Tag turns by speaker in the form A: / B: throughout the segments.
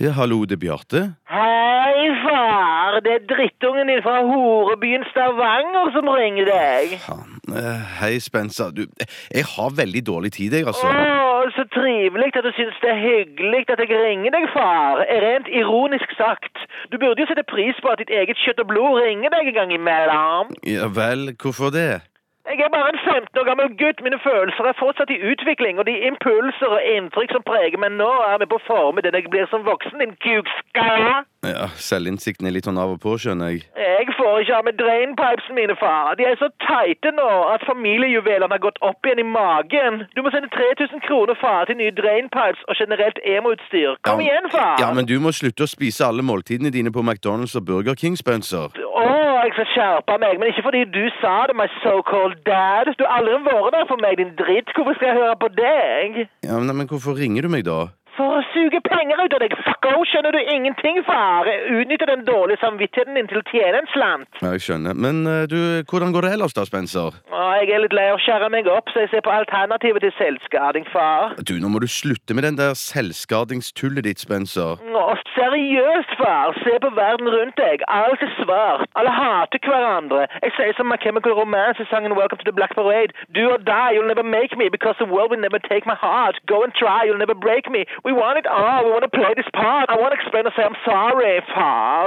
A: Ja, hallo, det er Bjarte.
B: Hei, far. Det er drittungen din fra horebyen Stavanger som ringer deg.
A: Faen. Eh, Hei, Spencer. Du, jeg har veldig dårlig tid, jeg, altså.
B: Å, så trivelig at du syns det er hyggelig at jeg ringer deg, far. Rent ironisk sagt. Du burde jo sette pris på at ditt eget kjøtt og blod ringer deg en gang imellom.
A: Ja vel, hvorfor det?
B: Jeg er bare en 15 år gammel gutt. Mine følelser er fortsatt i utvikling, og de impulser og inntrykk som preger meg nå, er med på å forme den jeg blir som voksen, din kukskalla.
A: Ja, Selvinnsikten er litt sånn av og på, skjønner jeg.
B: Jeg får ikke av med drainpipesene mine, far. De er så teite nå at familiejuvelene har gått opp igjen i magen. Du må sende 3000 kroner, far, til nye drainpipes og generelt emo-utstyr. Kom
A: Ja,
B: igjen, far!
A: Ja, men du må slutte å spise alle måltidene dine på McDonald's og Burger King, Spencer.
B: Å, jeg skal skjerpe meg, men ikke fordi du sa det, my so-called dad. Du har aldri vært der for meg, din dritt. Hvorfor skal jeg høre på deg?
A: Ja, men, men hvorfor ringer du meg da?
B: For å suge penger ut av deg, fucko! Skjønner du ingenting, far? Utnytte den dårlige samvittigheten din til å tjene en slant.
A: Ja, jeg skjønner. Men eh, du, hvordan går det ellers da, Spencer?
B: Å, jeg er litt lei av å skjære meg opp, så jeg ser på alternativet til selvskading, far.
A: Du, nå må du slutte med den der selvskadingstullet ditt, Spencer.
B: Nå, seriøst, far. Se på verden rundt deg. Alt er svart. Alle hater hverandre. Jeg sier som My Chemical Romance i sangen Welcome to the Black Parade. Do or die, you'll never make me because the world will never take my heart. Go and try, you'll never break me. We want it all. We want to play this part. I want to explain and say I'm sorry, far.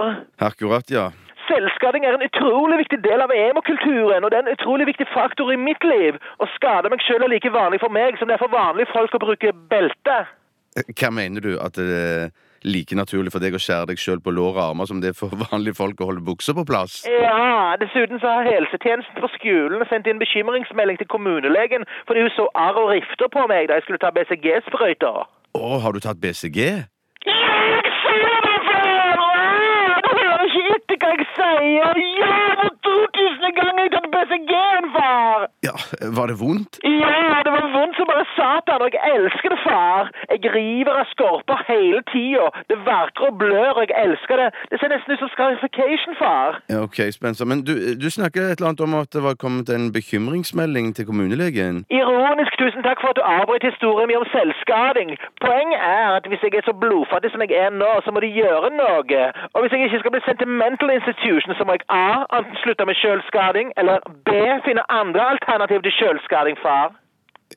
A: Akkurat, ja.
B: Selvskading er en utrolig viktig del av emo-kulturen, og det er en utrolig viktig faktor i mitt liv. Å skade meg sjøl er like vanlig for meg som det er for vanlige folk å bruke belte.
A: Eh, Hva mener du? At det er like naturlig for deg å skjære deg sjøl på lår og armer som det er for vanlige folk å holde buksa på plass?
B: Ja, dessuten så har helsetjenesten på skolen sendt inn bekymringsmelding til kommunelegen fordi hun så arr og rifter på meg da jeg skulle ta BCG-sprøyter.
A: Å, har du tatt BCG?
B: Jeg sier det før! Du hører ikke etter hva jeg sier! Ja, for 2000 ganger har jeg tatt BCG-en, far!
A: Ja, eh, var det vondt?
B: Ja, det var vondt som bare satan, og jeg elsker det, far. Jeg river av skorper hele tida. Det verker og blør, og jeg elsker det. Det ser nesten ut som scarification, far.
A: Ja, ok, Spencer. Men du, du snakker et eller annet om at det var kommet en bekymringsmelding til kommunelegen.
B: Ironisk, tusen takk for at du avbryter historien min om selvskading. Poenget er at hvis jeg er så blodfattig som jeg er nå, så må de gjøre noe. Og hvis jeg ikke skal bli sentimental institution, så må jeg A. Enten slutte med selvskading, eller B. Finne andre alternativ til selvskading, far.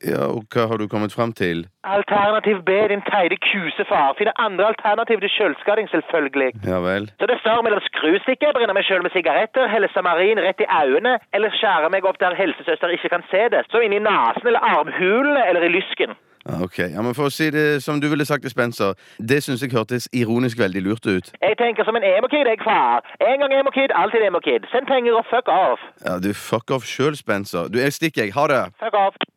A: Ja, og hva har du kommet fram til?
B: Alternativ B, din teide kusefar. Finne andre alternativ til selvskading, selvfølgelig.
A: Ja vel.
B: Så det står mellom skrustikker, brenne meg sjøl med sigaretter, helle samarin rett i øynene, eller skjære meg opp der helsesøster ikke kan se det, som inni nesen eller armhulene eller i lysken.
A: Ja, Ah, ok. Ja, men for å si det som du ville sagt til Spencer, det syns jeg hørtes ironisk veldig lurt ut.
B: Jeg tenker som en emo-kid, jeg, far. En gang emo-kid, alltid emo-kid. Send penger og fuck off.
A: Ja, du fuck off sjøl, Spencer. Du, jeg stikker, jeg. Ha det.
B: Fuck off.